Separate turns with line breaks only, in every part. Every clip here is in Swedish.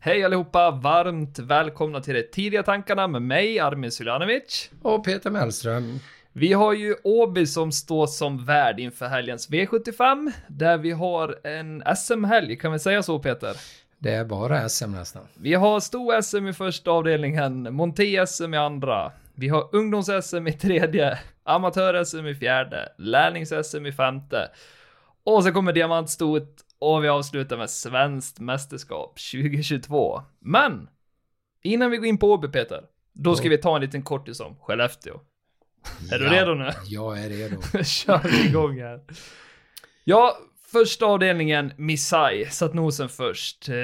Hej allihopa! Varmt välkomna till de tidiga tankarna med mig, Armin Suljanovic.
Och Peter Mellström.
Vi har ju Åby som står som värd inför helgens V75, där vi har en SM-helg, kan vi säga så Peter?
Det är bara SM nästan.
Vi har stor SM i första avdelningen, Monté-SM i andra. Vi har ungdoms-SM i tredje, amatör-SM i fjärde, lärlings-SM i femte. Och så kommer diamantstort och vi avslutar med svenskt mästerskap 2022. Men innan vi går in på Åby Peter, då ska
Ja.
vi ta en liten kortis om Skellefteå. Är du
Ja,
redo nu?
Jag är redo.
kör vi igång här. Ja, första avdelningen, Missai, satt nosen först. Eh,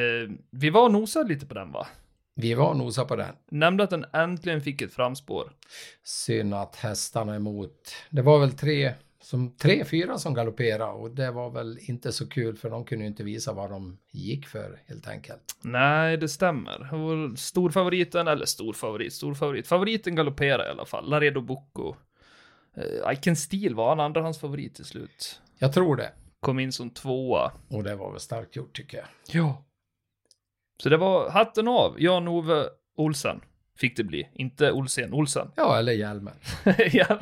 Vi var och nosade lite på den va?
Vi var och nosade på den.
Nämnde att den äntligen fick ett framspår.
Synd att hästarna är emot. Det var väl tre, som, tre fyra som galopperade och det var väl inte så kul för de kunde ju inte visa vad de gick för helt enkelt.
Nej, det stämmer. Och Storfavoriten, eller storfavorit, storfavorit. Favoriten galopperar i alla fall. Laredo Bocco. Eh, Iken Steel var en andrahandsfavorit till slut.
Jag tror det.
Kom in som tvåa.
Och det var väl starkt gjort tycker jag.
Ja. Så det var hatten av. Jan-Ove Olsen fick det bli. Inte Olsen, Olsen.
Ja, eller hjälmen.
ja.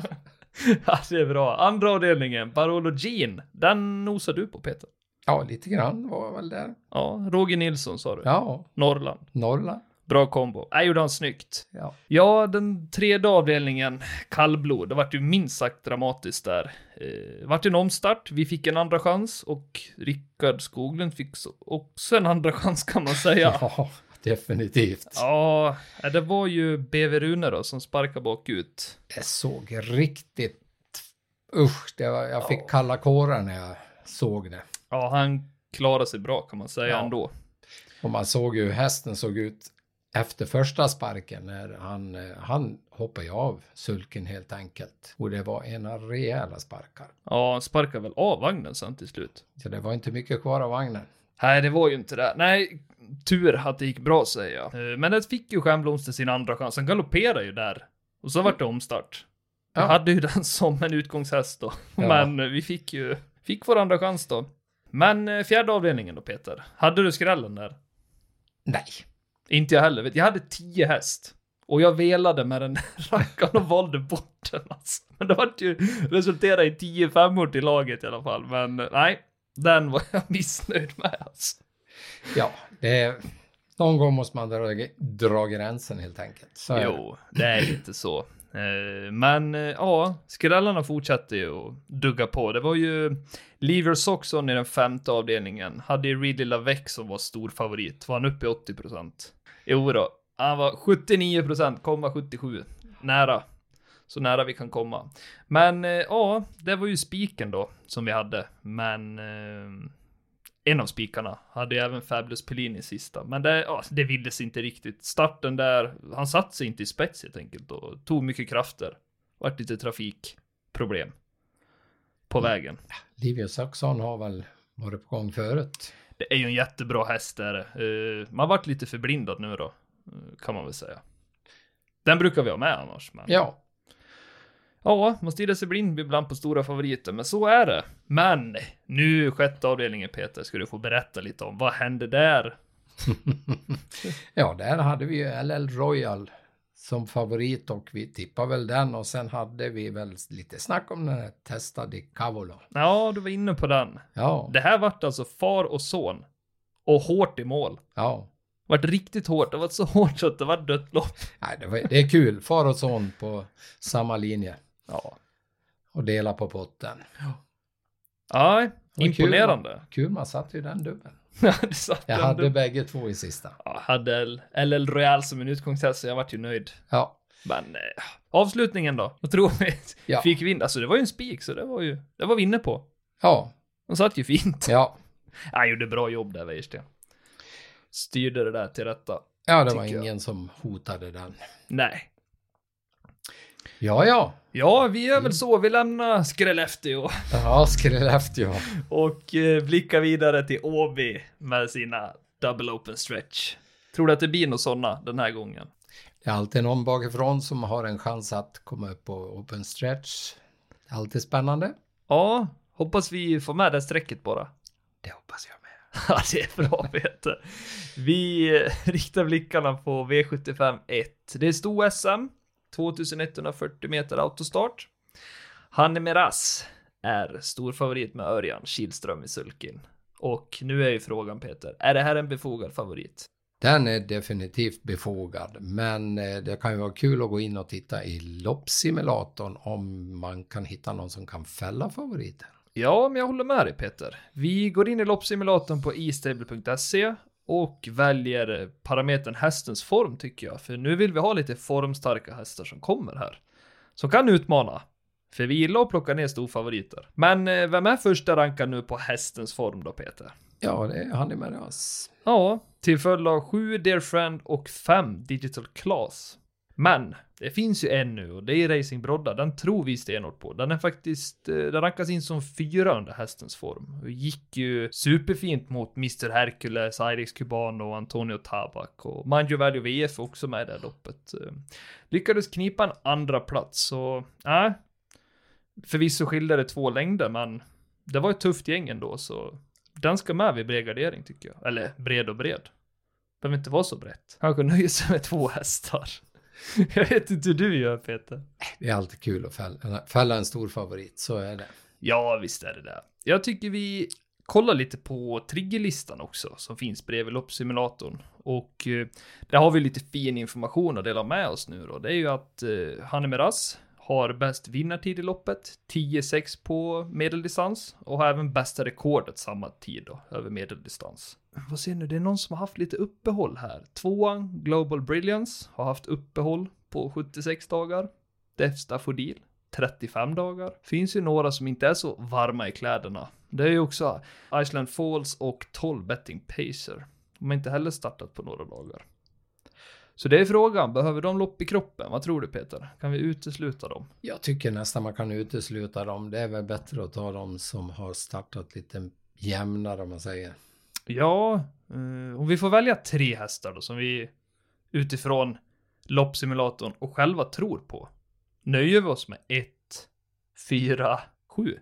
ja, det är bra. Andra avdelningen, Barolo Jean. Den nosar du på Peter.
Ja, lite grann var jag väl där.
Ja, Roger Nilsson sa du.
Ja,
Norrland.
Norrland.
Bra kombo. Nej, gjorde han snyggt.
Ja.
Ja, den tredje avdelningen, kallblod, det vart ju minst sagt dramatiskt där. Eh, vart en omstart, vi fick en andra chans och Rickard Skoglund fick så- också en andra chans kan man säga.
ja, definitivt.
Ja, eh, det var ju BV Rune då som sparkade bakut.
Det såg riktigt... Usch, det var, jag fick
Ja.
kalla kårar när jag såg det.
Ja, han klarade sig bra kan man säga
Ja.
ändå.
Och man såg ju hur hästen såg ut efter första sparken när han, eh, han hoppade ju av sulken helt enkelt. Och det var ena rejäla sparkar.
Ja, han sparkade väl av vagnen sen till slut.
Så det var inte mycket kvar av vagnen.
Nej, det var ju inte det. Nej, tur att det gick bra säger jag. Eh, Men det fick ju Stjärnblomster sin andra chans. Han galopperade ju där. Och så vart det omstart. Jag
Ja.
hade ju den som en utgångshäst då.
Ja.
Men eh, vi fick ju, fick vår andra chans då. Men eh, fjärde avdelningen då Peter. Hade du skrällen där?
Nej,
Inte jag heller. Vet du, Jag hade tio häst. Och jag velade med den där rackaren och valde bort den alltså. Men det vart ju, resulterade i tio femmor till laget i alla fall. Men eh, nej, den var jag missnöjd med alltså.
ja, det är... Någon gång måste man dra, dra gränsen helt enkelt. Så är det.
Jo, det är lite så. Eh, Men eh, ja, skrällarna fortsatte ju att dugga på. Det var ju Lever Soxon i den femte avdelningen. Hade ju Ridley Lavec som var stor favorit. Var han uppe i 80 procent? Jo då, han var 79 procent, 77. Nära. Så nära vi kan komma. Men eh, ja, det var ju spiken då som vi hade. Men eh, en av spikarna hade ju även Fabulous Pellini sista, men det, ja, det vildes inte riktigt. Starten där, han satt sig inte i spets helt enkelt och tog mycket krafter. Vart lite trafikproblem på vägen.
Livio Saxon har väl varit på gång förut.
Det är ju en jättebra häst där. Eh, man vart lite förblindad nu då, eh, kan man väl säga. Den brukar vi ha med annars, men
Ja,
ja, man stirrar sig blind ibland på stora favoriter, men så är det. Men nu sjätte avdelningen Peter, ska du få berätta lite om vad hände där?
Ja, där hade vi ju LL Royal som favorit och vi tippade väl den och sen hade vi väl lite snack om den här Testa di Cavolo.
Ja, du var inne på den.
Ja,
Det här vart alltså far och son. Och hårt i mål.
ja.
Vart riktigt hårt. Det var så hårt så att det var dött lopp.
Nej, det, var, det är kul. Far och son på samma linje
Ja.
och dela på potten.
Nej,
Vad
imponerande.
Kul, man satte ju den dubbeln.
Ja, det satt
Jag
ändå.
hade bägge två i sista.
Ja, hade L- LL Royal som en utgångshäst så jag vart ju nöjd.
Ja,
Men eh, avslutningen då? Vad tror vi?
Ja.
Fick vind. Alltså det var ju en spik så det var ju, det var vi inne på.
ja,
De satt ju fint.
ja,
Han gjorde bra jobb där Wäjersten. Styrde det där till rätta.
ja, det var
Tycker jag.
ingen som hotade den.
Nej.
Ja, ja,
Ja, vi
Mm.
är väl så. Vi lämnar Skellefteå.
ja, Skellefteå.
Och eh, blickar vidare till Åby med sina double open stretch. Tror du att det blir något sådana den här gången?
Det är alltid någon bakifrån som har en chans att komma upp på open stretch. Alltid spännande.
Ja, hoppas vi får med det strecket bara.
Det hoppas jag med.
Ja, det är bra Peter. Vi eh, riktar blickarna på V75 1. Det är stor SM, 2140 meter autostart. Hanne Meras är stor favorit med Örjan Kihlström i sulkin. Och nu är ju frågan Peter, är det här en befogad favorit?
Den är definitivt befogad, men eh, det kan ju vara kul att gå in och titta i loppsimulatorn om man kan hitta någon som kan fälla favoriten.
Ja, men jag håller med dig Peter. Vi går in i loppsimulatorn på istable.se och väljer parametern hästens form tycker jag, för nu vill vi ha lite formstarka hästar som kommer här. Som kan utmana. För vi gillar att plocka ner storfavoriter. Men eh, vem är första rankad nu på hästens form då Peter?
Ja, det är han är med oss.
Ja, till följd av 7 Dear Friend och 5 Digital Class. Men det finns ju en nu och det är Racing Brodda. Den tror vi stenhårt på. Den är faktiskt, eh, den rankas in som fyra under hästens form. Och gick ju superfint mot Mr Hercules, Irex Cubano och Antonio Tabak och Manjo Value VF är också med i det här loppet. Eh, Lyckades knipa en andra plats så, nej. förvisso skilde det två längder men det var ett tufft gäng ändå så den ska med vid bred gardering tycker jag. Eller bred och bred. Behöver inte vara så brett. Kanske nöjer sig med två hästar. Jag vet inte hur du gör Peter.
Det är alltid kul att fälla, fälla en stor favorit, så är det.
Ja, visst är det det. Jag tycker vi kollar lite på triggerlistan också som finns bredvid loppsimulatorn. Och eh, där har vi lite fin information att dela med oss nu då. Det är ju att eh, Hanne Meras har bäst vinnartid i loppet, 10-6 på medeldistans och har även bästa rekordet samma tid då, över medeldistans. Vad ser nu, det är någon som har haft lite uppehåll här. Tvåan, Global Brilliance, har haft uppehåll på 76 dagar. Defstafodil, 35 dagar. Finns ju några som inte är så varma i kläderna. Det är ju också Iceland Falls och 12 Betting Pacer. De har inte heller startat på några dagar. Så det är frågan, behöver de lopp i kroppen? Vad tror du Peter? Kan vi utesluta dem?
Jag tycker nästan man kan utesluta dem. Det är väl bättre att ta dem som har startat lite jämnare om man säger.
Ja, eh, om vi får välja tre hästar då som vi utifrån loppsimulatorn och själva tror på. Nöjer vi oss med 1, 4, 7?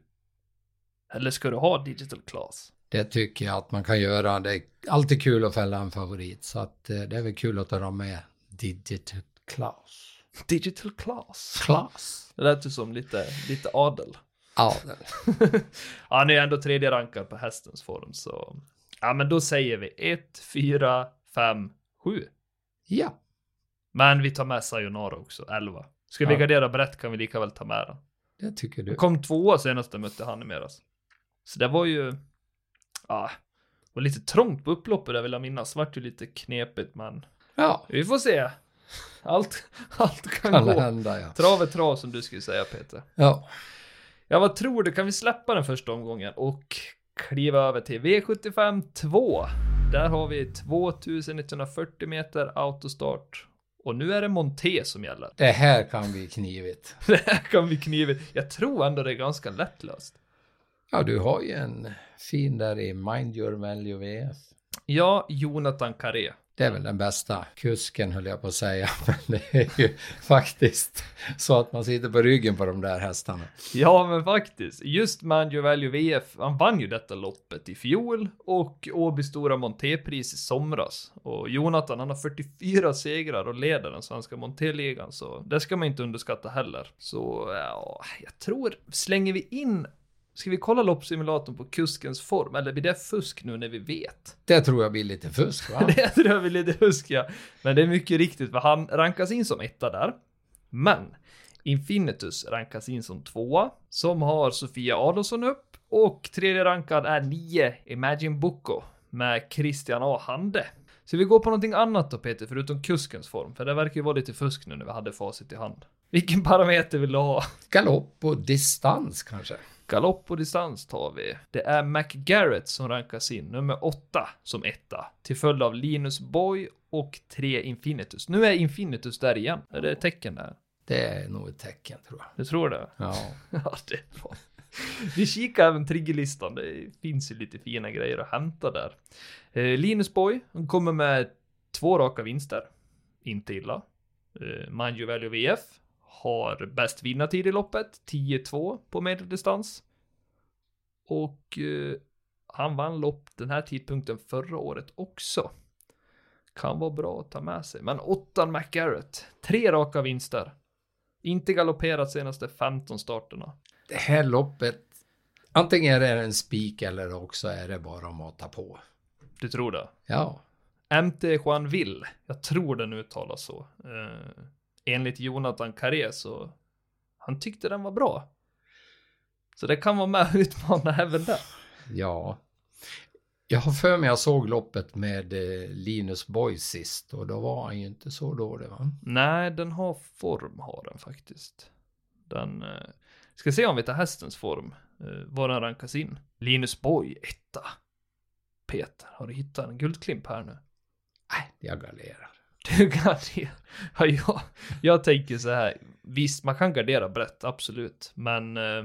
Eller ska du ha digital class?
Det tycker jag att man kan göra. Det är alltid kul att fälla en favorit, så att eh, det är väl kul att ta dem med. Digital Klaus.
Digital class?
Klaus.
Det lät ju som lite, lite adel.
Ja, den.
Han är ju ändå tredje rankad på hästens form, så... Ja, men då säger vi 1, 4, 5, 7.
ja.
Men vi tar med Sayonara också, 11. Ska vi
Ja.
gardera brett kan vi lika väl ta med den.
det tycker du.
Jag kom tvåa senast jag mötte han i meras. Så det var ju... Ja, det var lite trångt på upploppet där vill jag minnas. Vart ju lite knepigt, men
Ja,
vi får se. Allt, allt kan,
kan det
gå.
hända ja.
Trav är trav som du skulle säga Peter.
Ja,
Ja, vad tror du? Kan vi släppa den första omgången och kliva över till V75 2? Där har vi 2140 meter autostart och nu är det Monté som gäller.
det här kan bli knivigt.
Det här kan bli knivigt. Jag tror ändå det är ganska lättlöst.
Ja, du har ju en fin där i Mind Your Value VF.
Ja, Jonathan Carré.
Det är väl den bästa kusken höll jag på att säga, men det är ju faktiskt så att man sitter på ryggen på de där hästarna.
Ja, men faktiskt. Just Manjo Value VF, han vann ju detta loppet i fjol och Åby Stora Montépris i somras. Och Jonathan, han har 44 segrar och leder den svenska Montéligan, så det ska man inte underskatta heller. Så ja, jag tror, slänger vi in Ska vi kolla loppsimulatorn på kuskens form, eller blir det fusk nu när vi vet?
Det tror jag blir lite fusk, va?
Det tror jag vi lite fusk, ja. Men det är mycket riktigt, för han rankas in som etta där. Men Infinitus rankas in som tvåa, som har Sofia Adolfsson upp. Och tredje rankad är 9 Imagine Boko med Christian A. Hande. Så vi går på någonting annat då Peter, förutom kuskens form, för det verkar ju vara lite fusk nu när vi hade facit i hand. Vilken parameter vill du ha?
Galopp och distans kanske?
Galopp och distans tar vi. Det är McGarrett som rankas in, nummer åtta som etta. Till följd av Linus Boy och tre Infinitus. Nu är Infinitus där igen. Är det ett tecken där?
Det är nog ett tecken, tror jag.
Du tror det?
Ja.
Ja, det är bra. Vi kikar även triggerlistan. Det finns ju lite fina grejer att hämta där. Eh, Linus Boy han kommer med två raka vinster. Inte illa. Eh, Manju Value VF har bäst vinnartid i loppet. 10-2 på medeldistans. Och eh, Han vann lopp den här tidpunkten förra året också. Kan vara bra att ta med sig. Men åttan McGarrett, tre raka vinster. Inte galopperat senaste 15 starterna.
Det här loppet, antingen är det en spik eller också är det bara att mata på.
Du tror det?
Ja,
MT Juanville, jag tror den uttalas så. Eh, enligt Jonathan Carré så han tyckte den var bra. Så det kan vara med och utmana även där.
ja. Jag har för mig jag såg loppet med eh, Linus Boy sist och då var han ju inte så dålig va?
Nej, den har form har den faktiskt. Den, eh, ska se om vi tar hästens form, eh, var den rankas in. Linus Boy, etta. Peter, har du hittat en guldklimp här nu?
Nej, jag garderar.
Du garderar. Ja, jag, jag tänker så här. Visst, man kan gardera brett, absolut. Men eh,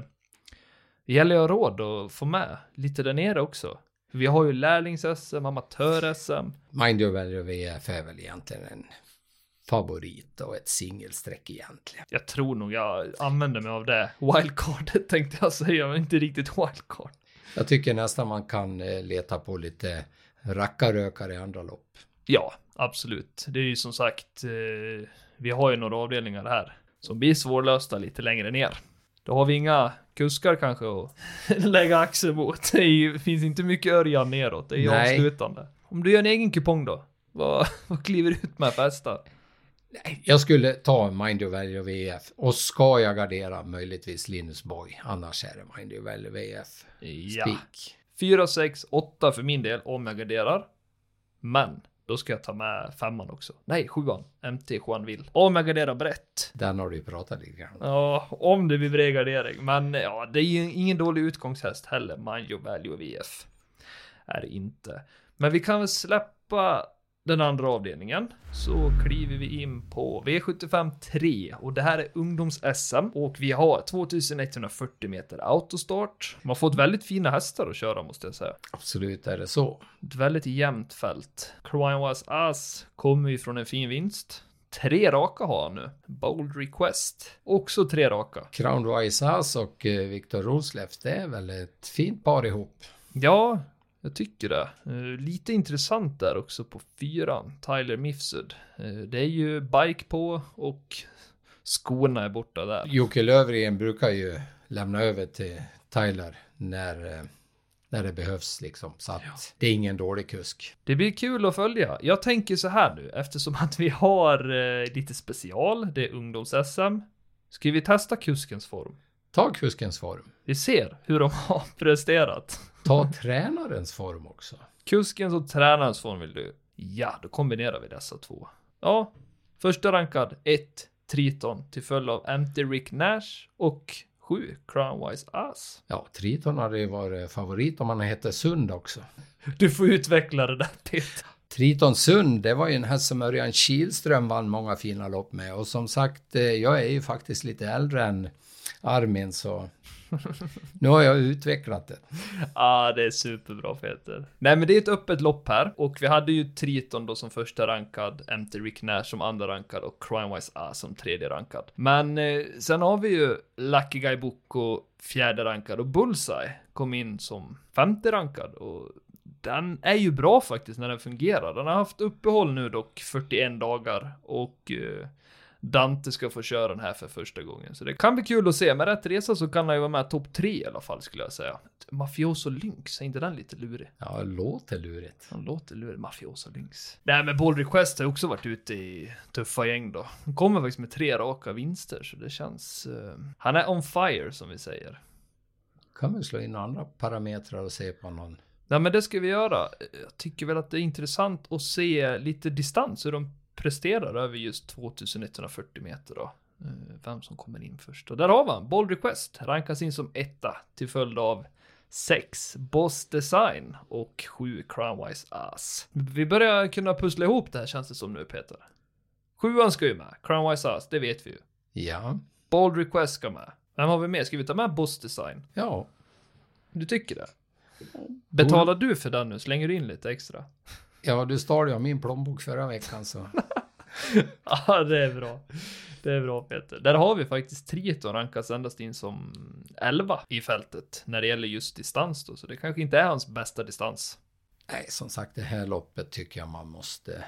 det gäller ju att ha råd att få med lite där nere också. Vi har ju lärlings-SM, amatör-SM.
Mind Your Value VF är väl egentligen en favorit och ett singelstreck egentligen.
Jag tror nog jag använder mig av det wildcardet tänkte jag säga, men inte riktigt wildcard.
Jag tycker nästan man kan eh, leta på lite rackarrökare i andra lopp.
Ja, absolut. Det är ju som sagt, eh, vi har ju några avdelningar här som blir svårlösta lite längre ner. Då har vi inga kuskar kanske att lägga axel mot. Det är ju, finns inte mycket Örjan neråt, det är ju
Nej.
avslutande. Om du gör en egen kupong då, vad, vad kliver du ut med för hästar?
Jag skulle ta Mind Your Value VF och ska jag gardera möjligtvis Linus Boy, annars är det Mind Your Value VF.
Ja.
Spik.
4, 6, 8 för min del om jag garderar. Men då ska jag ta med femman också. Nej, sjuan. MT Juanville. Om jag garderar brett.
Den har du ju pratat lite grann om.
Ja, om det blir bredgardering. Men ja, det är ju ingen dålig utgångshäst heller. Manjo Value VF. Är det inte. Men vi kan väl släppa den andra avdelningen. Så kliver vi in på V75 3 och det här är ungdoms-SM och vi har 2140 meter autostart. Man får ett väldigt fina hästar att köra måste jag säga.
Absolut är det så.
Ett väldigt jämnt fält. Crime Was Us kommer ju från en fin vinst. Tre raka har han nu. Bold Request. Också tre raka.
Crown Wise House och eh, Viktor Rosleff, det är väl ett fint par ihop.
Ja, jag tycker det. Eh, Lite intressant där också på fyran, Tyler Mifsud. Eh, Det är ju bike på och skorna är borta där.
Jocke Lövgren brukar ju lämna över till Tyler när, eh, när det behövs liksom. Så att det är ingen dålig kusk.
Det blir kul att följa. Jag tänker så här nu, eftersom att vi har eh, lite special, det är ungdoms-SM. Ska vi testa kuskens form?
Ta kuskens form.
Vi ser hur de har presterat.
Ta tränarens form också.
Kuskens och tränarens form vill du? Ja, då kombinerar vi dessa två. Ja, första rankad 1 Triton till följd av MT Rick Nash och 7 Crownwise Ass.
Ja, Triton hade ju varit favorit om han hette Sund också.
Du får utveckla det där Peter.
Triton Sund, det var ju en häst som Örjan Kihlström vann många fina lopp med. Och som sagt, eh, jag är ju faktiskt lite äldre än Armin så nu har jag utvecklat det.
Ah, det är superbra Peter. Nej, men det är ett öppet lopp här och vi hade ju Triton då som första rankad, MT Rick Nash som andra rankad och Crimewise A som tredje rankad. Men eh, sen har vi ju Lucky Guy Boko fjärde rankad och Bullseye kom in som femte rankad och den är ju bra faktiskt när den fungerar. Den har haft uppehåll nu dock 41 dagar och eh, Dante ska få köra den här för första gången. Så det kan bli kul att se. Med rätt resa så kan han ju vara med topp tre i alla fall skulle jag säga. Mafioso Lynx, är inte den lite lurig?
Ja, det låter lurigt.
Han låter lurig. Mafioso Lynx. Nej men Ball Request har ju också varit ute i tuffa gäng då. Han kommer faktiskt med tre raka vinster så det känns... eh, han är on fire som vi säger.
Kan man slå in andra parametrar och se på någon.
Nej men det ska vi göra. Jag tycker väl att det är intressant att se lite distans hur de presterar över just 2140 meter då. Eh, Vem som kommer in först. Och där har man Bold Request rankas in som etta till följd av 6 Boss Design och 7 Crownwise Ass. Vi börjar kunna pussla ihop det här känns det som nu Peter. Sjuan ska ju med, Crownwise Ass, det vet vi ju.
Ja,
Bold Request ska med. Vem har vi med? Ska vi ta med Boss Design?
ja,
Du tycker det? Betalar du för den nu? Slänger du in lite extra?
ja, du stal ju av min plånbok förra veckan så.
Ja, det är bra. Det är bra Peter. Där har vi faktiskt Triton rankas endast in som 11 i fältet när det gäller just distans då, så det kanske inte är hans bästa distans.
Nej, som sagt, det här loppet tycker jag man måste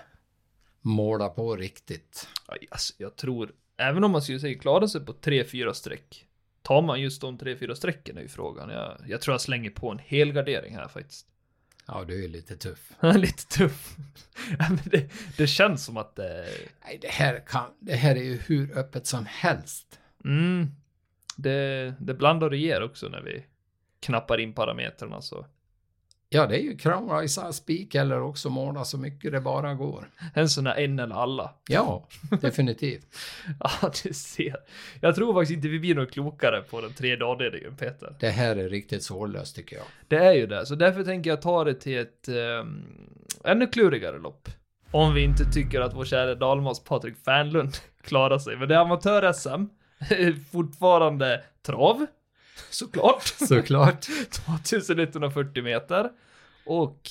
måla på riktigt.
Aj, Alltså, jag tror, även om man skulle säga klara sig på 3-4 streck, tar man just de 3-4 strecken är ju frågan. Jag, jag tror jag slänger på en hel gardering här faktiskt.
Ja, du är lite tuff.
Lite tuff. Ja, men det, det känns som att eh, det...
Nej, det här, kan, det här är ju hur öppet som helst.
Mm, det, det blandar och ger också när vi knappar in parametrarna så.
Ja, det är ju kramrajsa, spik eller också måla så mycket det bara går.
En sån här en eller alla.
Ja, definitivt.
Ja, du ser. Jag tror faktiskt inte vi blir något klokare på den tredje avdelningen, Peter.
Det här är riktigt svårlöst tycker jag.
Det är ju det, så därför tänker jag ta det till ett ehm, ännu klurigare lopp. Om vi inte tycker att vår kära Dalmas Patrik Fernlund klarar sig. Men det är amatör-SM, fortfarande trav, såklart.
Såklart.
2140 meter. Och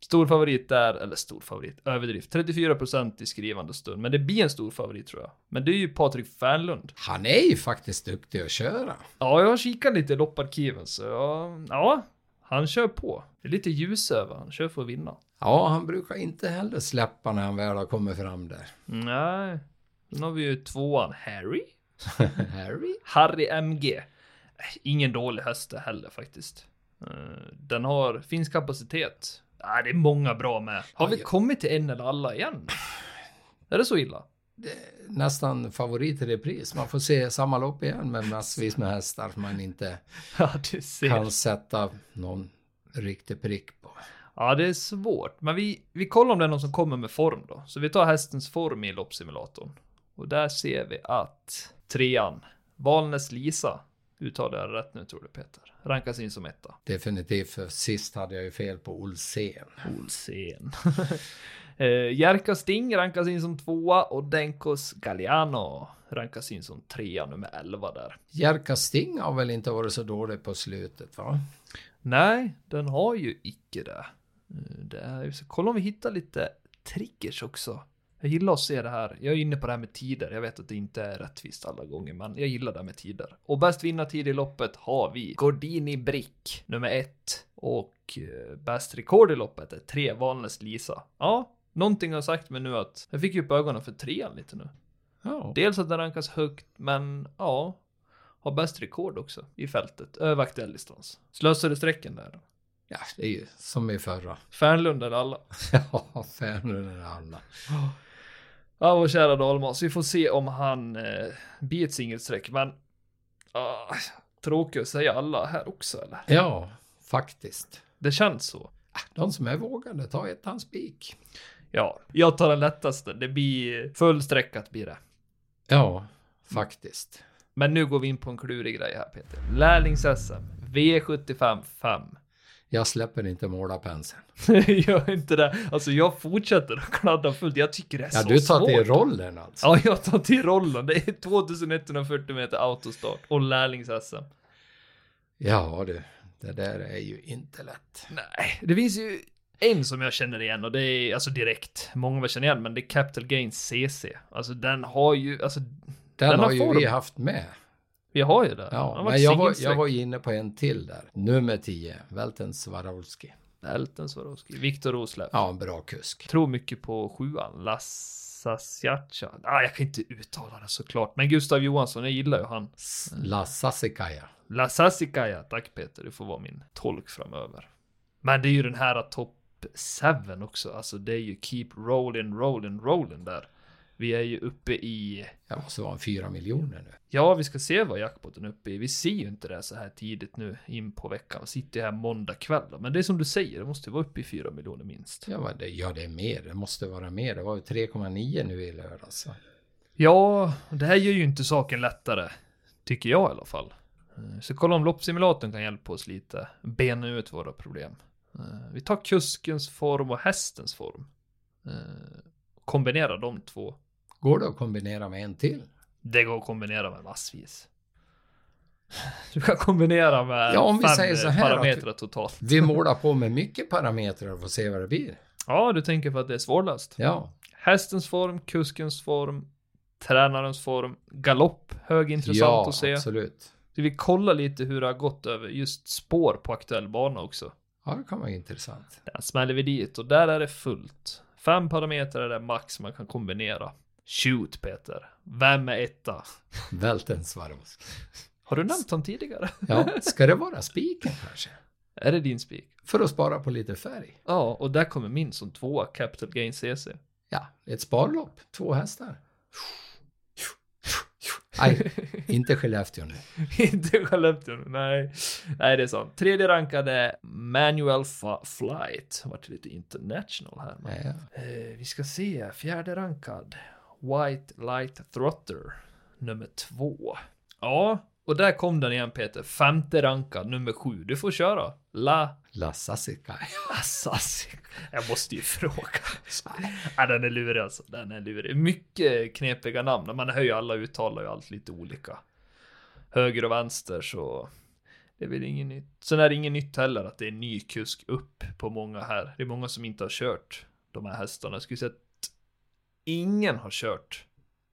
stor favorit där, eller stor favorit, överdrift. 34% i skrivande stund. Men det blir en stor favorit tror jag. Men det är ju Patrik Fernlund.
Han är ju faktiskt duktig att köra.
Ja, jag har kikat lite i lopparkiven så jag, ja, han kör på. Det är lite ljus över, han kör för att vinna.
Ja, han brukar inte heller släppa när han väl har kommit fram där.
Nej. Sen har vi ju tvåan Harry.
Harry?
Harry MG. Eh, Ingen dålig häst det heller faktiskt. Eh, Den har, finns kapacitet. Nej, det är många bra med. Har vi
Oj.
kommit till en eller alla igen? Är det så illa?
Nästan favorit i repris. Man får se samma lopp igen med massvis med hästar som man inte
Ja, du ser.
kan sätta någon riktig prick på.
Ja, det är svårt. Men vi, vi kollar om det är någon som kommer med form då. Så vi tar hästens form i loppsimulatorn. Och där ser vi att trean, Valnes Lisa, uttalar jag rätt nu tror du Peter, rankas in som etta.
Definitivt, för sist hade jag ju fel på Olsen.
Olsen. Eh, Jerka Sting rankas in som tvåa och Denkos Galliano rankas in som trea, nummer 11 där.
Jerka Sting har väl inte varit så dålig på slutet va?
Nej, den har ju icke det. Eh, det är, vi ska kolla om vi hittar lite triggers också. Jag gillar att se det här. Jag är inne på det här med tider. Jag vet att det inte är rättvist alla gånger, men jag gillar det här med tider. Och bäst vinnartid i loppet har vi Gordini Brick, nummer ett. Och eh, bäst rekord i loppet är tre Valnes Lisa. Ja, någonting har sagt mig nu att jag fick ju upp ögonen för trean lite nu.
Ja.
Dels att den rankas högt, men ja, har bäst rekord också i fältet över aktuell distans. Slösade strecken där.
ja, det är ju som i förra.
Fernlund eller alla.
Ja, Färnlund är alla.
Ja, vår kära Dalmas. Vi får se om han eh, blir ett singelstreck, men ah, tråkigt att säga alla här också, eller?
Ja, faktiskt.
Det känns så.
De som är vågade, ta ettans spik.
Ja, jag tar den lättaste. Det blir fullstreckat blir det.
Ja, faktiskt.
Men nu går vi in på en klurig grej här, Peter. Lärlings-SM, V75 5.
Jag släpper inte målarpenseln.
Gör inte det. Alltså, jag fortsätter att kladda fullt. Jag tycker det är
Ja,
så
du tar
svårt.
till rollen alltså.
Ja, jag tar till rollen. Det är 2140 meter autostart och lärlings-SM.
Ja, du. Det där är ju inte lätt.
Nej, det finns ju en som jag känner igen och det är alltså direkt. Många väl känner igen, men det är Capital Gains CC. Alltså den har ju, alltså
Den,
Den har
har ju
form.
vi haft med.
vi har ju det. Den
Ja,
har
men jag var,
singelsträck.
jag var ju inne på en till där. Nummer 10, Velten Swarovski.
Elton Swarovski, Viktor Roslöv.
Ja, en bra kusk.
Tror mycket på sjuan, Lassasiacha. Ah, jag kan inte uttala det såklart, men Gustav Johansson, jag gillar ju han.
Lasasikaja.
Lassasikaja, tack Peter, det får vara min tolk framöver. Men det är ju den här topp 7 också, alltså det är ju keep rolling, rolling, rolling där. Vi är ju uppe i
Jag måste vara en fyra miljoner nu.
Ja, vi ska se vad jackpoten är uppe i. Vi ser ju inte det så här tidigt nu in på veckan. Vi sitter ju här måndag kväll. då. Men det är som du säger, det måste ju vara uppe i 4 miljoner minst.
Ja, vad det, ja, det är mer. Det måste vara mer. Det var ju 3,9 nu i lördags. va?
Ja, det här gör ju inte saken lättare. Tycker jag i alla fall. Eh, Så kolla om loppsimulatorn kan hjälpa oss lite. Bena ut våra problem. Eh, Vi tar kuskens form och hästens form. Eh, Kombinera de två.
Går det att kombinera med en till?
Det går att kombinera med massvis. Du kan kombinera med
Ja, om vi
fem
säger så
eh,
här att-
parametrar totalt.
Vi målar på med mycket parametrar och får se vad det blir.
Ja, du tänker för att det är svårlöst.
Ja,
Hästens form, kuskens form, tränarens form, galopp, högintressant
ja,
att se.
absolut.
Så vi kollar lite hur det har gått över just spår på aktuell bana också.
Ja, det kan vara intressant.
Där smäller vi dit och där är det fullt. Fem parametrar är det max man kan kombinera. Shoot Peter, vem är etta?
Välten Swarovski.
Har du nämnt honom tidigare?
Ja, ska det vara spiken kanske?
Är det din spik?
För att spara på lite färg.
Ja, och där kommer min som tvåa, Capital Gain CC.
Ja, ett sparlopp, två hästar. Nej, inte Skellefteå nu.
Inte Skellefteå, nej. Nej, det är sant. Tredje rankade Manuel Fa- Flight. Det Vart lite international här. men-
Nej,
Eh, vi ska se, fjärde rankad. White Light Throtter, nummer två. Ja, och där kom den igen Peter. Femte rankad, nummer sju. Du får köra. La
La Sassikai.
Assassin. Jag måste ju fråga. Ja, den är lurig alltså. Den är lurig. Mycket knepiga namn. Man hör ju alla uttalar ju allt lite olika. Höger och vänster så. Det är väl inget nytt. Sen är det inget nytt heller att det är ny kusk upp på många här. Det är många som inte har kört de här hästarna. Jag skulle säga att ingen har kört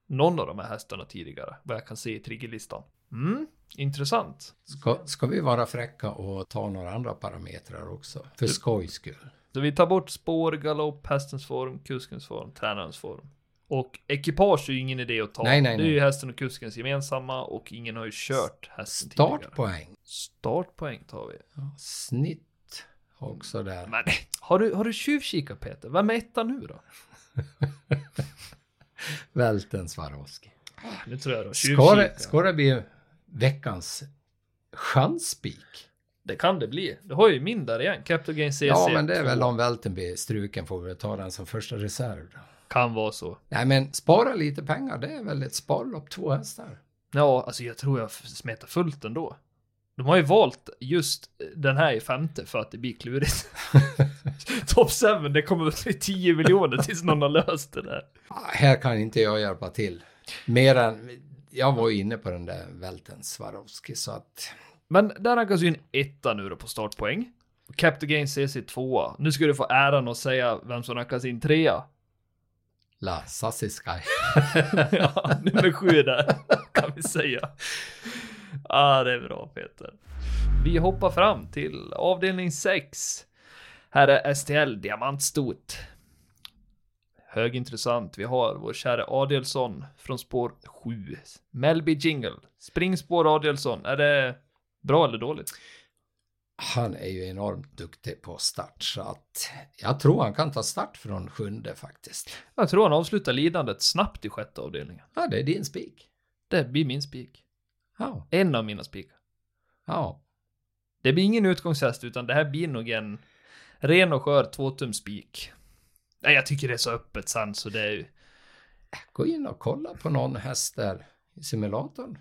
någon av de här hästarna tidigare. Vad jag kan se i triggerlistan. Mm, intressant.
Ska, ska vi vara fräcka och ta några andra parametrar också? För skojs skull.
Så vi tar bort spår, galopp, hästens form, kuskens form, tränarens form. Och ekipage är ju ingen idé att ta.
Nej, nej,
det är
nej.
ju hästen och kuskens gemensamma och ingen har ju kört hästen tidigare.
Startpoäng.
Startpoäng tar vi.
Ja, snitt också där.
Men har du, har du tjuvkikat Peter? Vem är etta nu då?
Välten Swarovski.
Nu tror jag då.
Ska
Tjuvkika.
det, ska det bli veckans chansspik?
Det kan det bli. Du har ju min där igen. Capital Gain CC.
Ja, men det är väl om välten blir struken får vi väl ta den som första reserv. Då.
Kan vara så.
Nej, men spara lite pengar, det är väl ett sparlopp, två hästar.
Ja, alltså jag tror jag f- smetar fullt ändå. De har ju valt just den här i femte för att det blir klurigt. Top 7, det kommer att bli 10 miljoner tills någon har löst det där.
Ah, Här kan inte jag hjälpa till. Mer än, jag var ju inne på den där välten Swarovski, så att
Men där rankas ju en etta nu då på startpoäng. Captain Gain CC tvåa. Nu ska du få äran att säga vem som rankas in trea.
La Sassiskaj.
ja, nummer sju där, kan vi säga. Ja, ah, det är bra Peter. Vi hoppar fram till avdelning 6. Här är STL Diamantstot. Högintressant. Vi har vår kära Adelsson från spår 7. Melby Jingle. Springspår Adelsson. Är det bra eller dåligt?
Han är ju enormt duktig på start, så att jag tror han kan ta start från sjunde faktiskt.
Jag tror han avslutar lidandet snabbt i sjätte avdelningen.
Ja, det är din spik.
Det blir min spik.
Ja,
En av mina spikar.
ja.
Det blir ingen utgångshäst utan det här blir nog en ren och skör tvåtumspik. Nej, jag tycker det är så öppet sen så det är ju...
Gå in och kolla på någon häst där i simulatorn.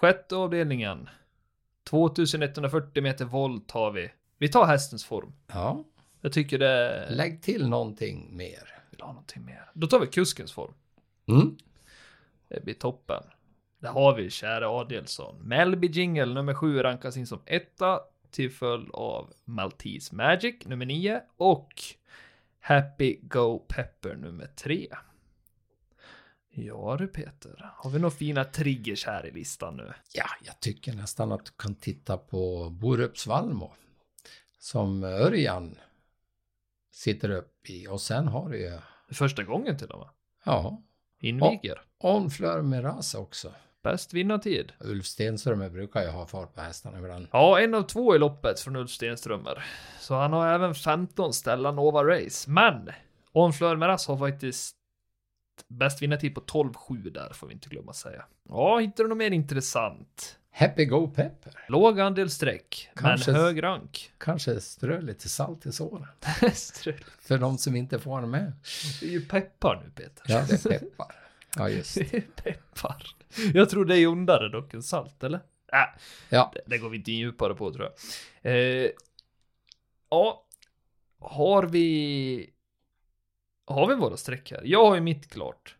Sjätte avdelningen. 2140 meter volt har vi. Vi tar hästens form.
Ja,
Jag tycker det...
lägg till någonting mer.
Vill ha någonting mer. Då tar vi kuskens form.
Mm.
Det blir eh, toppen. Där har vi kära Adelsson. Melby Jingle nummer 7 rankas in som etta till följd av Maltese Magic nummer 9 och Happy Go Pepper nummer 3. Ja du Peter, har vi några fina triggers här i listan nu?
Ja, jag tycker nästan att du kan titta på Borups Valmo som Örjan sitter upp i och sen har du ju,
Första gången till och med.
ja,
Inviger.
Onflör Miraz också.
Bäst vinnartid.
Ulf Stenströmer brukar ju ha fart på hästarna ibland.
Ja, en av två i loppet från Ulf Stenströmer. Så han har även 15 Stellan Nova Race. Men Onfleur Meras har faktiskt bäst vinnartid på 12-7 där, får vi inte glömma säga. Ja, hittar du något mer intressant?
Happy Go Pepper.
Låg andel streck,
Kanske-
men hög rank.
Kanske strö lite salt i såren. För de som inte får den med.
det är ju peppar nu, Peter.
Ja, det är peppar. Ja, just
Det är peppar. Jag tror det är ondare dock än salt, eller? Äh,
Ja,
Det går vi inte in djupare på tror jag. Eh, ja, har vi... Har vi våra streck här? Jag har ju mitt klart.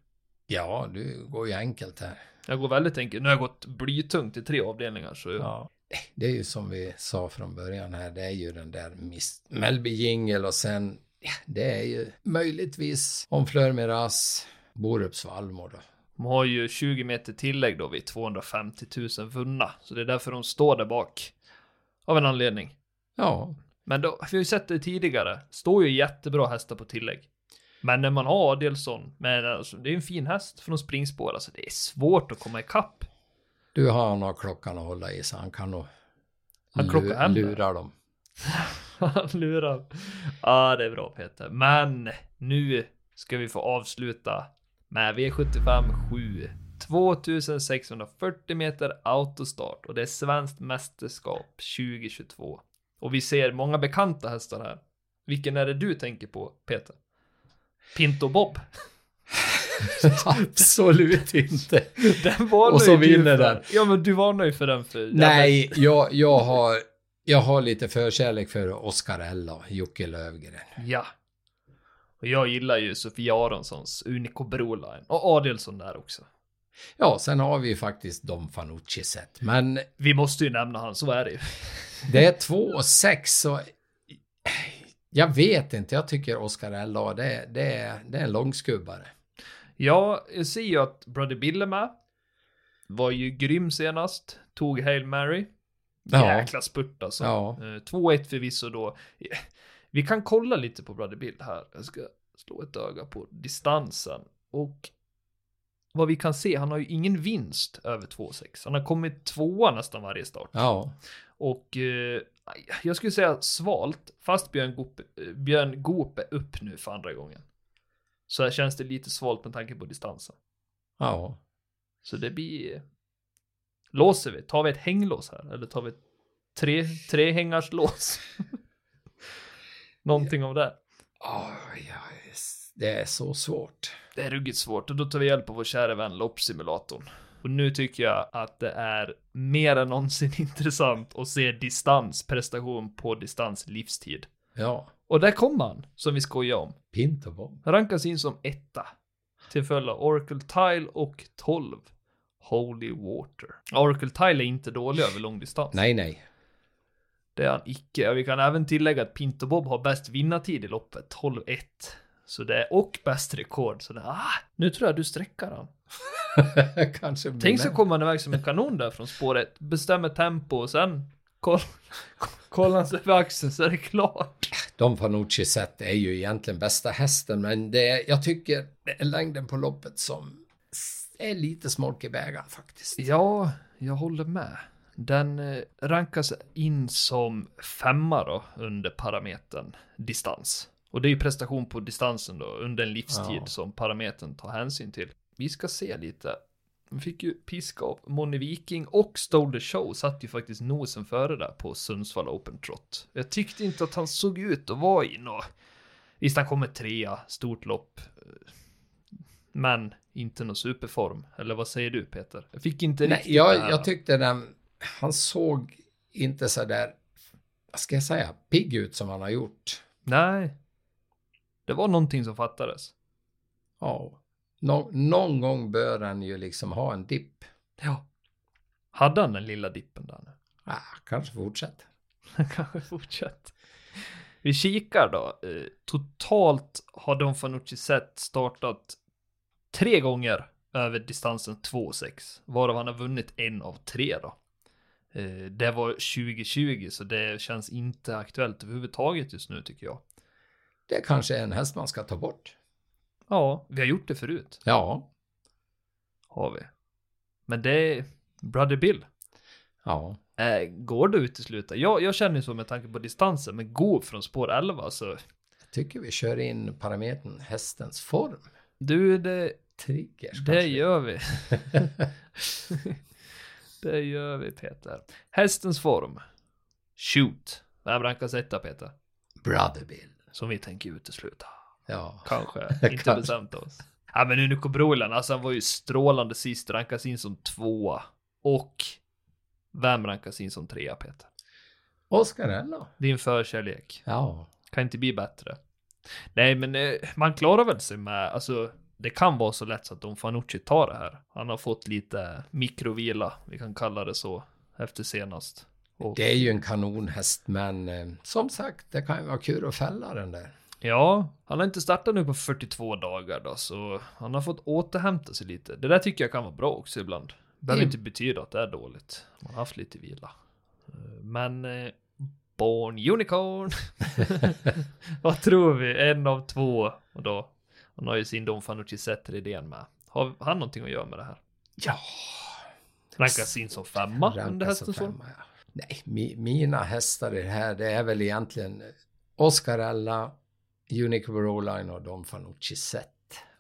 ja du går ju enkelt här.
Jag går väldigt enkelt. Nu har jag gått blytungt i tre avdelningar så...
Ja. Det är ju som vi sa från början här, det är ju den där Miss Melby Jingle och sen, ja, det är ju möjligtvis om Fleur Miraz, Borups Valmor då.
De har ju 20 meter tillägg då vid 250 000 vunna, så det är därför de står där bak. Av en anledning.
Ja,
Men då, vi har ju sett det tidigare, står ju jättebra hästar på tillägg. Men när man har Adelsson, men alltså, det är ju en fin häst från springspår, alltså det är svårt att komma ikapp.
du har nog klockan att hålla i så han kan nog
Han klockar
lu-
hem det.
lura dem.
Han lurar. Ja, det är bra Peter. Men nu ska vi få avsluta med V75 7. 2640 meter autostart och det är svenskt mästerskap 2022. Och vi ser många bekanta hästar här. Vilken är det du tänker på, Peter? Pinto Bob.
Absolut inte.
Den var
Och så
nöjd du
vinner
för.
den.
Ja, men du var nöjd för den för...
Nej, jag, jag, har, jag har lite förkärlek för Oscarella och Jocke Lövgren.
Ja. Och jag gillar ju Sofia Aronssons Unico Broline och Adelsson där också.
Ja, sen har vi ju faktiskt Dom Fanucci sett. Men
Vi måste ju nämna han, så är det ju.
det är två och sex så... Jag vet inte, jag tycker Oscarella, det, det, är- det är en långskubbare.
Ja, jag ser ju att Brother Bill är med. Var ju grym senast. Tog Hail Mary.
Ja.
Jäkla spurt alltså.
Ja.
Eh, 2-1 förvisso då. Vi kan kolla lite på Brother Bill här. Jag ska slå ett öga på distansen. Och vad vi kan se, han har ju ingen vinst över 2-6. Han har kommit tvåa nästan varje start.
Ja,
Och eh, jag skulle säga svalt, fast Björn Goop, eh, Björn Goop är upp nu för andra gången. Så här känns det lite svalt med tanke på distansen.
ja.
Så det blir... eh, Låser vi? Tar vi ett hänglås här? Eller tar vi ett tre, tre hängars lås? Någonting av det.
Oj, ja, det är så svårt.
Det är ruggigt svårt och då tar vi hjälp av vår kära vän loppsimulatorn. Och nu tycker jag att det är mer än någonsin intressant att se distans, prestation på distans, livstid.
Ja,
Och där kom han, som vi skojar om.
Pinterbom.
Rankas in som etta. Till följd av Oracle Tile och 12. Holy Water. Oracle Tile är inte dålig över långdistans.
Nej, nej.
Det är han icke. Och Vi kan även tillägga att Pinto Bob har bäst vinnartid i loppet, 12-1. Så det är och bäst rekord. Så det, ah, nu tror jag du sträckar han.
Kanske blir
Tänk så
med.
kommer han iväg som en kanon där från spåret. Bestämmer tempo och sen koll, kollar han sig över axeln så är det klart.
Dom Fanucci sett är ju egentligen bästa hästen, men det är, jag tycker det är längden på loppet som är lite smolk i bägaren faktiskt.
Ja, jag håller med. Den eh, rankas in som femma då under parametern distans. Och det är ju prestation på distansen då under en livstid
Ja.
som parametern tar hänsyn till. Vi ska se lite. Vi fick ju piska av Moni Viking och Stole the Show satt ju faktiskt nosen före där på Sundsvall Open Trot. Jag tyckte inte att han såg ut att vara i något. Visst, han kommer trea, stort lopp. eh, Men inte någon superform. Eller vad säger du Peter? Jag fick inte
Nej,
riktigt
jag,
det här.
jag tyckte den, han såg inte så där, vad ska jag säga, pigg ut som han har gjort.
Nej. Det var någonting som fattades.
Ja. Nå, någon gång bör han ju liksom ha en dipp.
Ja. Hade han den lilla dippen där nu?
Ah, kanske fortsätt.
Han kanske fortsatt. Vi kikar då. Eh, Totalt har Don Fanucci sett startat tre gånger över distansen 2,6. Varav han har vunnit en av tre då. Eh, Det var 2020 så det känns inte aktuellt överhuvudtaget just nu tycker jag.
Det kanske är en häst man ska ta bort.
Ja, vi har gjort det förut.
Ja.
Har vi. Men det är Brother Bill.
Ja.
Eh, går det att utesluta? Jag, jag känner ju så med tanke på distansen, men gå från spår 11 så.
Jag tycker vi kör in parametern hästens form.
Du, det,
Triggers
det
kanske.
gör vi. det gör vi Peter. Hästens form. Shoot. Vem rankas etta Peter?
Brother Bill.
Som vi tänker utesluta.
Ja.
Kanske. Inte
Kanske.
bestämt oss. Ja men Unico Broilan, alltså han var ju strålande sist, rankas in som tvåa. Och vem rankas in som trea Peter?
Oscarella.
Din förkärlek.
Ja.
Kan inte bli bättre. Nej, men eh, man klarar väl sig med, alltså det kan vara så lätt så att Don Fanucci tar det här. Han har fått lite mikrovila, vi kan kalla det så, efter senast. Och,
Det är ju en kanonhäst, men eh, som sagt, det kan ju vara kul att fälla den där.
Ja, han har inte startat nu på 42 dagar då, så han har fått återhämta sig lite. Det där tycker jag kan vara bra också ibland. Behöver
Mm.
inte betyda att det är dåligt. Man har haft lite vila. Eh, Men eh, Born Unicorn. Vad tror vi? En av två. Och då, han har ju sin Don Fanucci-Zetter-idén med. Har han någonting att göra med det här?
Ja,
Rankas in som femma under
rankas
hästens
som
form.
femma, ja. Nej, mi, mina hästar i det här, det är väl egentligen Oscarella, Unique Broline och Don Fanucci Set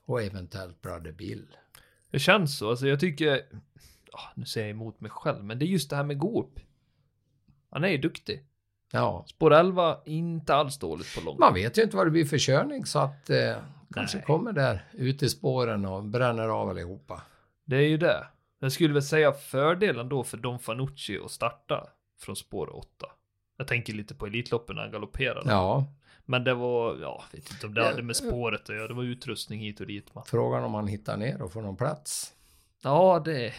och eventuellt Brother Bill.
Det känns så. Alltså jag tycker... Ah, nu säger jag emot mig själv, men det är just det här med Goop. Han är ju duktig.
Ja,
Spår 11, inte alls dåligt på långt.
man vet ju inte vad det blir för körning så att eh, kanske
Nej.
kommer där ute i spåren och bränner av allihopa.
Det är ju det. Jag skulle väl säga fördelen då för Don Fanucci att starta från spår 8. Jag tänker lite på Elitloppen när han galopperade.
Ja,
Men det var, ja, vet inte om det
Ja,
hade med spåret att göra. Det var utrustning hit och dit. Man.
frågan om han hittar ner och får någon plats.
Ja, det,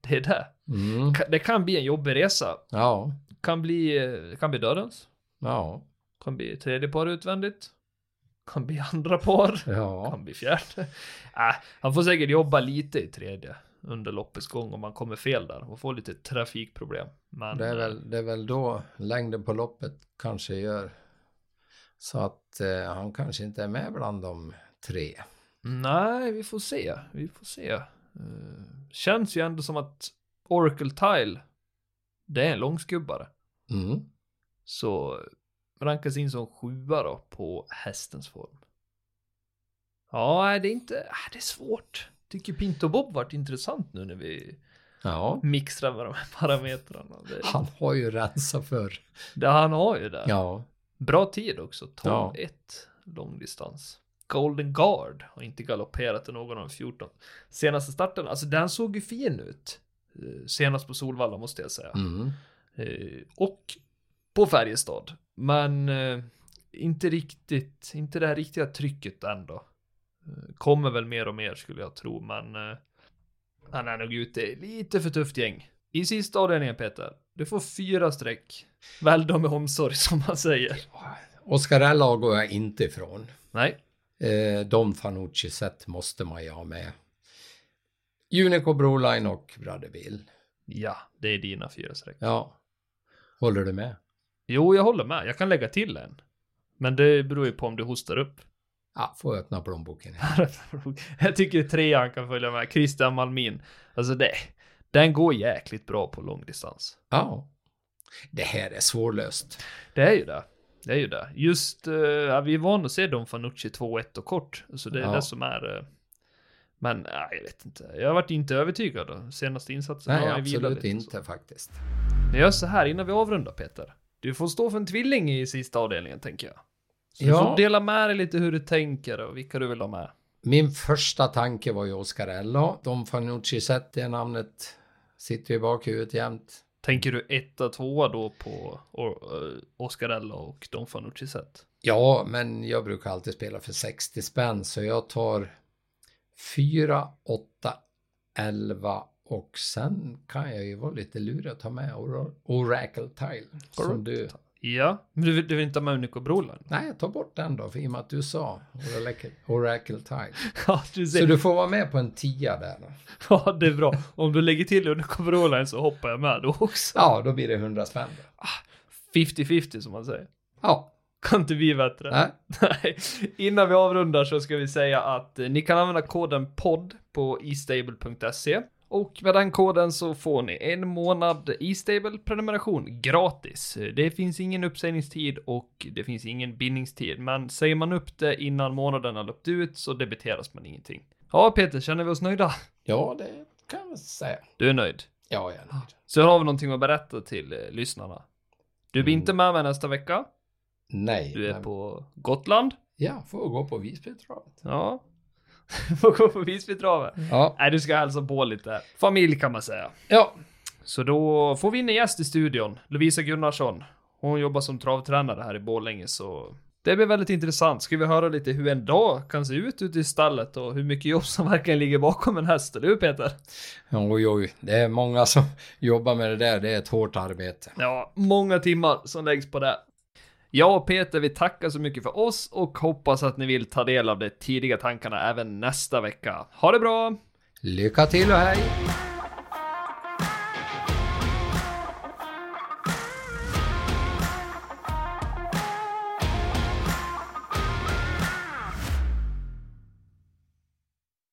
det är det.
Mm.
Ka- Det kan bli en jobbig resa.
Ja,
Kan bli, eh, kan bli dödens.
ja,
Kan bli tredje par utvändigt. Kan bli andra par.
ja.
Kan bli fjärde. Äh, han får säkert jobba lite i tredje under loppets gång om han kommer fel där och får lite trafikproblem. Men
Det är,
eh,
väl, det är väl då längden på loppet kanske gör så att eh, han kanske inte är med bland de tre.
nej, vi får se. Vi får se. Eh, känns ju ändå som att Oracle Tile, det är en långskubbare.
Mm.
Så rankas in som sjua då på hästens form. Ja, nej, det är inte, ah, det är svårt. Tycker Pinto Bob varit intressant nu när vi
Ja,
mixtrar med de här parametrarna. Det,
han har ju rensat för.
det han har ju där.
Ja,
Bra tid också, 12-1
Ja.
långdistans. Golden Guard har inte galopperat i någon av de 14 senaste starten. Alltså den såg ju fin ut. Eh, Senast på Solvalla måste jag säga.
mm.
Eh, Och på Färjestad. Men eh, inte riktigt, inte det här riktiga trycket ändå. Eh, Kommer väl mer och mer skulle jag tro, men eh, han är nog ute i lite för tufft gäng. I sista avdelningen Peter, du får fyra streck. Välj dem med omsorg som man säger.
Oscarella går jag inte ifrån.
Nej,
Eh, Don Fanucci sett måste man ju ha med. Unico Broline och Brother Bill.
ja, det är dina fyra streck.
Ja, håller du med?
Jo, jag håller med. Jag kan lägga till en. Men det beror ju på om du hostar upp.
Ja, får öppna plånboken.
jag tycker trean kan följa med. Christian Malmin. Alltså det, den går jäkligt bra på långdistans.
Ja, det här är svårlöst.
Det är ju det. Det är ju det. Just, eh, ja, vi är vana att se Don Fanucci 2-1 och kort. Så det är
Ja.
det som är. eh, men nej, jag vet inte. Jag varit inte övertygad då. Senaste insatsen
Nej,
har jag vilat
absolut
lite och så.
inte faktiskt.
Men jag gör så här innan vi avrundar Peter. Du får stå för en tvilling i sista avdelningen tänker jag. Så du
Ja.
får dela med dig lite hur du tänker och vilka du vill ha med.
Min första tanke var ju Oscarello. Don Fanucci sett det namnet sitter ju i bakhuvudet jämt.
Tänker du etta, tvåa då på o- eh, Oscarella och Don Fanucci set?
Ja, men jag brukar alltid spela för 60 spänn så jag tar 4, 8, 11 och sen kan jag ju vara lite lurig och ta med Ora- Oracle Tile. Som du.
Ja, men du vill, du vill inte ha med Unico Brolan?
Nej, ta bort den då för i och med att du sa Oracle, Oracle Tile.
Ja, du
Så
ser.
du får vara med på en tia där. Då.
Ja, det är bra. Om du lägger till Unico Brolan så hoppar jag med då också.
Ja, då blir det 100 spänn. Då.
50-50 som man säger.
Ja,
Kan inte bli bättre.
nej.
Nej. Innan vi avrundar så ska vi säga att eh, ni kan använda koden podd på eStable.se och med den koden så får ni en månad eStable prenumeration gratis. Eh, Det finns ingen uppsägningstid och det finns ingen bindningstid, men säger man upp det innan månaden har löpt ut så debiteras man ingenting. Ja, Peter, känner vi oss nöjda?
Ja, det kan man säga.
Du är nöjd.
Ja, jag är nöjd.
Så har vi någonting att berätta till eh, lyssnarna. Du blir
Mm.
inte med mig nästa vecka.
Nej.
Du är
men-
på Gotland.
Ja, får gå på Visbytravet.
Ja. Får gå på Visbytravet.
Ja.
Nej, du ska hälsa på lite. Familj kan man säga.
ja.
Så då får vi in en gäst i studion. Lovisa Gunnarsson. Hon jobbar som travtränare här i Borlänge, så det blir väldigt intressant. Ska vi höra lite hur en dag kan se ut ute i stallet och hur mycket jobb som verkligen ligger bakom en häst, eller hur Peter?
Oj, oj. Det är många som jobbar med det där. Det är ett hårt arbete.
Ja, många timmar som läggs på det. Jag och Peter, vi tackar så mycket för oss och hoppas att ni vill ta del av de tidiga tankarna även nästa vecka. Ha det bra!
Lycka till och hej!